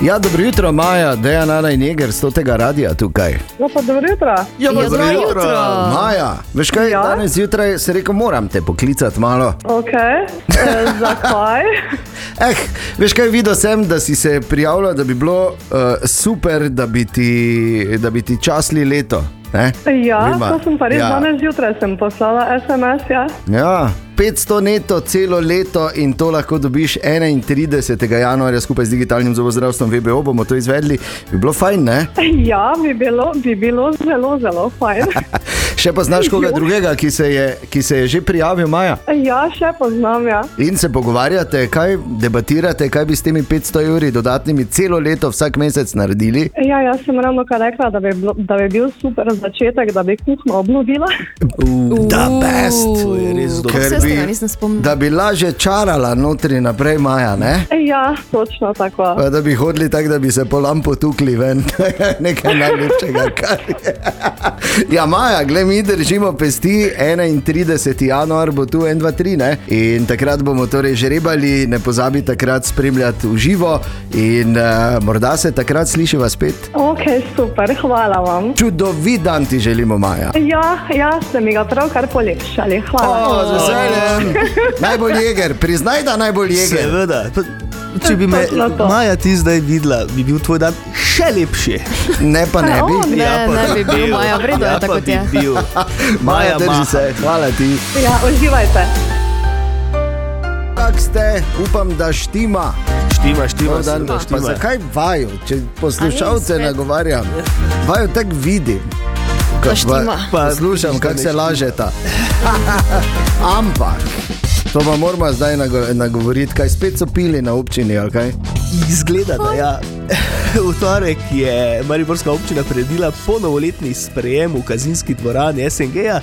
Speaker 2: Ja, dobro jutro, Maja, dejan Ana in Jeger, s tega radia tukaj.
Speaker 7: No, pa dobro jutro.
Speaker 2: Ja,
Speaker 4: pa Dobro dobro jutro. jutro.
Speaker 2: Maja, veš kaj, ja?
Speaker 7: Ja?
Speaker 2: danes zjutraj se rekel, moram te poklicati malo.
Speaker 7: Ok,
Speaker 9: e,
Speaker 7: eh, zakaj?
Speaker 2: Eh, veš kaj, videl sem, da si se prijavila, da bi bilo uh, super, da bi ti, da bi ti časli leto. Ne?
Speaker 7: Ja,
Speaker 2: Riba.
Speaker 7: to sem pa res
Speaker 2: Ja.
Speaker 7: ja. danes zjutraj sem poslala SMS, ja.
Speaker 2: Ja. 500 neto celo leto in to lahko dobiš 31. januarja skupaj z digitalnim zobozdravstvom VBO. Bomo to izvedli, bi bilo fajn, ne?
Speaker 7: Ja, bi bilo, bi bilo zelo, zelo fajn.
Speaker 2: Še pa znaš koga drugega, ki se je, ki se je že prijavil, Maja.
Speaker 7: Ja, še poznam, ja.
Speaker 2: In se pogovarjate, kaj debatirate, kaj bi s temi 500 evri dodatnimi celo leto vsak mesec naredili.
Speaker 7: Ja, jaz sem ravno kar rekla, da bi, bilo, da bi bil super začetek, da bi kuhno obnovila.
Speaker 2: Da, best.
Speaker 3: To je res dobro.
Speaker 2: Ker
Speaker 4: Vse
Speaker 2: bi-
Speaker 4: se ga nisem spomnila.
Speaker 2: Da bi lažje čarala notri naprej, Maja, ne?
Speaker 7: Ja, točno tako.
Speaker 2: Pa da bi hodili tako, da bi se po lampu tukli ven, nekaj najlepšega. Kar je. ja, Maja, gled, mi držimo pesti, 31. januar bo tu 1, 2, 3, ne? In takrat bomo torej žrebali, ne pozabi takrat spremljati v živo in uh, morda se takrat slišiva spet.
Speaker 7: Ok, super, hvala vam.
Speaker 2: Čudovit dan ti želimo, Maja.
Speaker 7: Ja, ja, ste mi ga pravkar polepšali, hvala.
Speaker 2: O, z veseljem. Najbolj jeger, priznaj, da najbolj jeger.
Speaker 3: Seveda. Pa, Če bi me
Speaker 7: Točno to.
Speaker 3: Maja ti zdaj videla, bi bil tvoj dan še lepši.
Speaker 2: Ne pa ne bi.
Speaker 4: Ne,
Speaker 3: Ja, pa
Speaker 4: ne bi bil, Maja, v redu je
Speaker 3: ja,
Speaker 4: tako,
Speaker 3: pa
Speaker 4: kot
Speaker 3: bi
Speaker 4: je.
Speaker 3: bil.
Speaker 2: Maja,
Speaker 3: Maja, maha.
Speaker 2: drži se, hvala ti.
Speaker 7: Ja, uživajte.
Speaker 2: Kako ste, upam, da štima.
Speaker 3: Štima, štima,
Speaker 2: Dobar dan.
Speaker 3: seveda,
Speaker 2: Pa
Speaker 3: štima.
Speaker 2: zakaj vaju, če
Speaker 4: A
Speaker 2: poslušalce
Speaker 4: ni svet?
Speaker 2: nagovarjam? Vaju tako vidim. Ko-
Speaker 4: Da štima.
Speaker 2: pa,
Speaker 3: Pa
Speaker 2: poslušam,
Speaker 3: nič
Speaker 2: kako
Speaker 3: ne
Speaker 2: se
Speaker 3: štima.
Speaker 2: lažeta. Ampak. To pa moramo zdaj nago- nagovoriti, kaj spet so pili na občini. ali kaj?
Speaker 3: Izgleda, da ja. V torek je Mariborska občina predila ponovoletni sprejem v kazinski dvorani SNG-ja,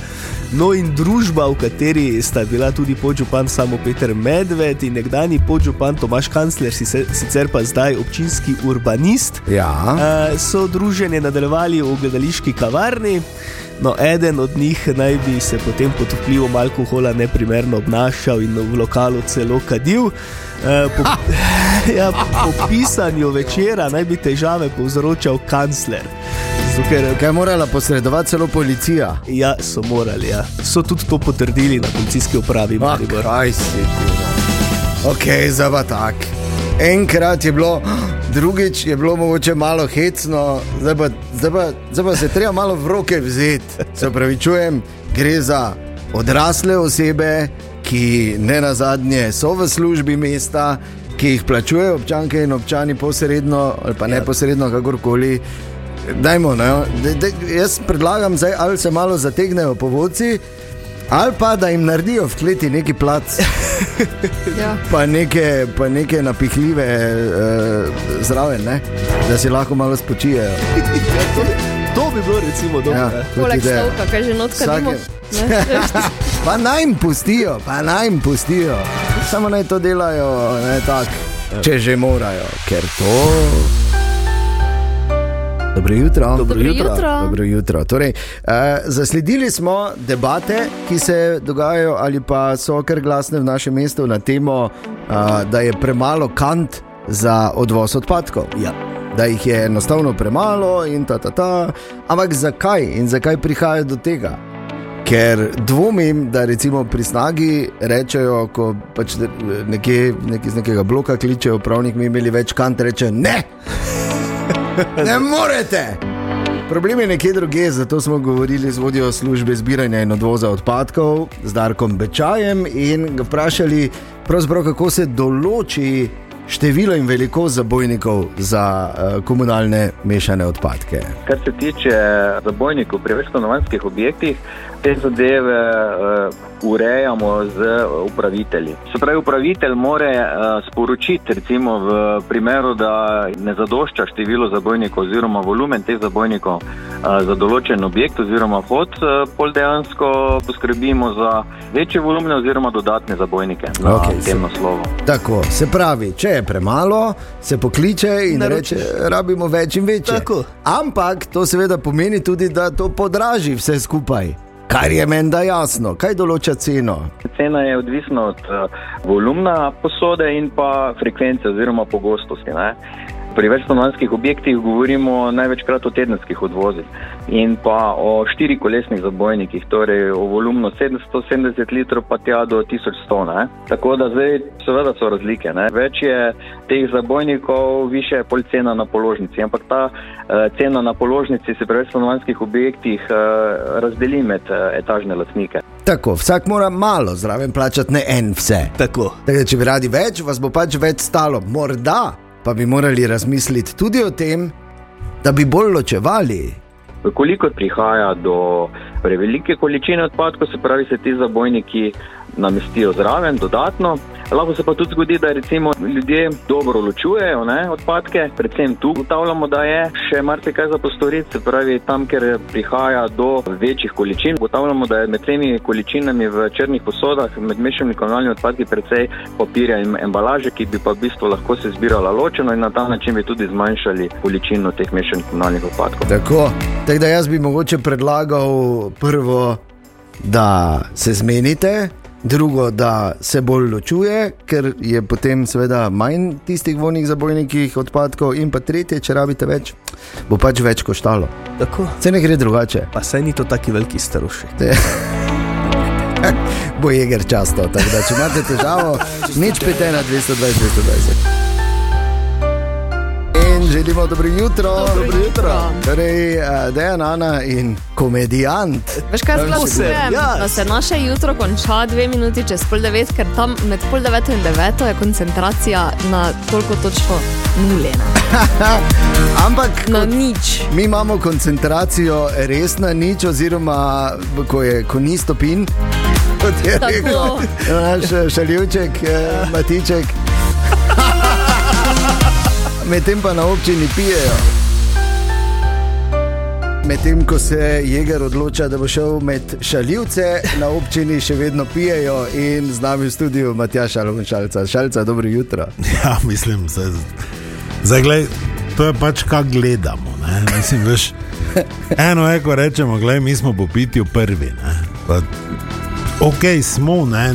Speaker 3: no in družba, v kateri sta bila tudi podžupan samo Peter Medved in nekdani podžupan Tomaš Kancler, sicer sicer pa zdaj občinski urbanist.
Speaker 2: Ja.
Speaker 3: Eh, so druženje nadaljevali v gledališki kavarni. No, eden od njih naj bi se potem pod vplivom alkohola neprimerno obnašal in v lokalu celo kadil. Eh, Po, ja, po pisanju večera naj bi težave povzročal kancler. Zato, ker
Speaker 2: Kaj je morala posredovati celo policija?
Speaker 3: ja, so morali. Ja. So tudi to potrdili na policijski upravi.
Speaker 2: Ma,
Speaker 3: Maribor.
Speaker 2: Kaj si ti? no. Ok, zava tak. Enkrat je bilo, drugič je bilo mogoče malo hecno, zdaj pa, zdaj pa, zdaj pa se je treba malo v roke vzeti. Se upravičujem, gre za odrasle osebe, ki ne na zadnje so v službi mesta, ki jih plačujejo občanke in občani posredno ali pa neposredno, kakorkoli. Dajmo, no. de, de, jaz predlagam, zdaj, ali se malo zategnejo po voci, ali pa da jim naredijo v kleti neki plac,
Speaker 4: Ja.
Speaker 2: pa neke, pa neke napihljive eh, zraven, ne? da si lahko malo spočijejo.
Speaker 3: To, to bi bilo recimo dobro.
Speaker 2: Ja,
Speaker 3: Ja.
Speaker 2: kot
Speaker 4: Poleg
Speaker 2: ideja.
Speaker 4: stavka, kaj že notka dimo.
Speaker 2: Vsake- pa naj jim pustijo, pa naj jim pustijo. Samo naj to delajo, ne, tak, če že morajo, ker to. Dobro jutro. Dobro
Speaker 4: jutro. jutro.
Speaker 2: Dobro jutro. Torej, eh, zasledili smo debate, ki se dogajajo ali pa so kar glasne v našem mestu na temo, eh, da je premalo kant za odvoz odpadkov.
Speaker 3: Ja.
Speaker 2: Da jih je enostavno premalo in ta ta ta. Ampak zakaj in zakaj prihaja do tega? Ker dvomim, da recimo pri snagi rečejo, ko pač ne- nekje, nekje iz nekega bloka kličejo, pravnik mi imeli več kant, reče ne, ne morete. Problem je nekje drugje, zato smo govorili z vodjo službe zbiranja in odvoza odpadkov, z Darkom Bečajem, in ga vprašali, pravzaprav, kako se določi število in velikost zabojnikov za eh, komunalne mešane odpadke.
Speaker 11: Kar se tiče eh, zabojnikov pri večstanovanjskih objektih, te zadeve eh, urejamo z eh, upravitelji. Se pravi, upravitelj mora eh, sporočiti, recimo v primeru, da ne zadošča število zabojnikov oziroma volumen teh zabojnikov eh, za določen objekt oziroma vhod, eh, pol dejansko poskrbimo za večje volumne oziroma dodatne zabojnike na
Speaker 2: Okej,
Speaker 11: okay, tem
Speaker 2: se-
Speaker 11: naslovu.
Speaker 2: Tako, se pravi, če je premalo, se pokliče in
Speaker 11: Naročiš.
Speaker 2: reče, rabimo več in več. Ampak to seveda pomeni tudi, da to podraži vse skupaj. Kar je menda jasno, kaj določa ceno.
Speaker 11: Cena je odvisna od eh, volumna posode in pa frekvence oziroma pogostosti. Ne? Pri večstanovanjskih objektih govorimo največkrat o tedenskih odvozih in pa o štirikolesnih zabojnikih, torej o volumnu 770 litrov pa tja do 1100. Ne? Tako da zdaj seveda so razlike. Ne? Več je teh zabojnikov, više je pol cena na položnici, ampak ta eh, cena na položnici se pri večstanovanjskih objektih eh, razdeli med eh, etažne lastnike.
Speaker 2: Tako, vsak mora malo zraven plačati, ne en vse.
Speaker 3: Tako.
Speaker 2: Tako, da, če bi radi več, vas bo pač več stalo. Morda pa bi morali razmisliti tudi o tem, da bi bolj ločevali.
Speaker 11: Koliko prihaja do prevelike količine odpadkov, se pravi, se ti zabojniki namestijo zraven, dodatno. Lahko se pa tudi zgodi, da recimo ljudje dobro ločujejo ne, odpadke, predvsem tu ugotavljamo, da je še marsikaj za postoriti, se pravi, tam, kjer prihaja do večjih količin, ugotavljamo, da je med temi količinami v črnih posodah med mešanimi komunalnimi odpadki precej papirja in embalaže, ki bi pa v bistvu lahko se zbirala ločeno in na ta način bi tudi zmanjšali količino teh mešanih komunalnih odpadkov.
Speaker 2: Tako, tako da jaz bi mogoče predlagal prvo, da se zmenite, drugo, da se bolj ločuje, ker je potem seveda manj tistih vodnih zabojnikih odpadkov, in pa tretje, če rabite več, bo pač več koštalo.
Speaker 3: Tako.
Speaker 2: Se ne gre drugače.
Speaker 3: Pa saj ni to taki veliki starošek.
Speaker 2: Bo jeger často, tako da če imate težavo, nič pete na 220, 220. In želimo dobro jutro. Dobro, dobro jutro. Torej, eh, Dejan, Ana in komedijant.
Speaker 4: Veš kaj,
Speaker 2: Nam še
Speaker 4: zglasujem,
Speaker 2: bo- Ja,
Speaker 4: da se naše jutro konča dve minuti čez pol devet, ker tam med pol deveto in deveto je koncentracija na toliko točko nuljena.
Speaker 2: Ampak
Speaker 4: na nič.
Speaker 2: Mi imamo koncentracijo res na nič, oziroma ko, je, ko ni stopin, kot je
Speaker 4: Tako.
Speaker 2: rekel naš šaljivček, eh, matiček. Medtem pa na občini pijejo. Medtem ko se jeger odloča, da bo šel med šaljivce, na občini še vedno pijejo in z nami v studiu Matjaš Alon Šalca. Šalca, dobro jutro.
Speaker 12: Ja, mislim, zdaj, zdaj, glej, to je pač kaj gledamo. Ne? Mislim, veš, eno je, ko rečemo, glej, mi smo po pitju prvi. Ne? Pa, ok, smo, ne?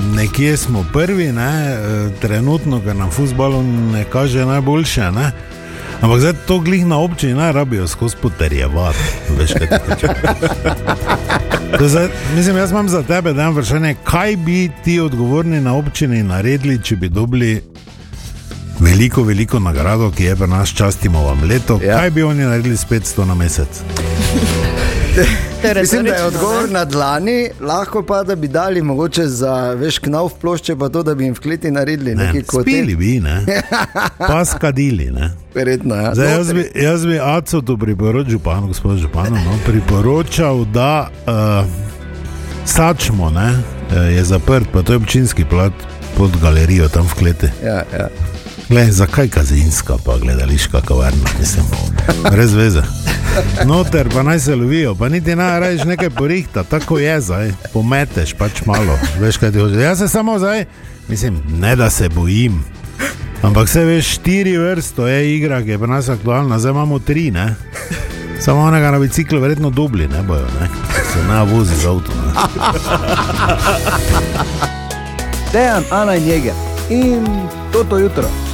Speaker 12: nekje smo prvi, ne? e, trenutno, ker nam futbalu ne kaže najboljše. Ne? Ampak zdaj to glih na občini ne rabijo skozi potrjevati. Veš, kaj ti hočem To Zdaj, mislim, jaz imam za tebe dan vprašanje, kaj bi ti odgovorni na občini naredili, če bi dobili veliko, veliko nagrado, ki je pri nas častimo vam leto. Ja. Kaj bi oni naredili s 500 na mesec?
Speaker 2: Mislim, da je odgovor na dlani, lahko pa da bi dali mogoče za veš knav plošče, pa to, da bi jim v kleti naredili ne, nekaj kot
Speaker 12: Spili bi, ne? pa skadili. Ne?
Speaker 2: Verjetno, ja.
Speaker 12: Zdaj, jaz bi, jaz bi Aco to priporočil, županu, gospodu županu, no, priporočal, da uh, sačmo ne, eh, je zaprt, pa to je občinski plat pod galerijo tam v kleti.
Speaker 2: Ja, ja.
Speaker 12: Glej, zakaj kazinska, pa gledališka kavarna, mislim, brez veze. Noter pa naj se lovijo, pa niti naj rajš nekaj porihta, tako je zdaj, pometeš pač malo, veš kaj ti hočeš. Jaz se samo zdaj, mislim, ne da se bojim. Ampak se veš, štiri vrsto je igra, ki je pri nas aktualna, zdaj imamo tri, ne? Samo onega na biciklu, verjetno dubli, ne bojo, ne? Se ne vozi z avtom. ne.
Speaker 13: Dejan, Ana in Jeger. In toto jutro.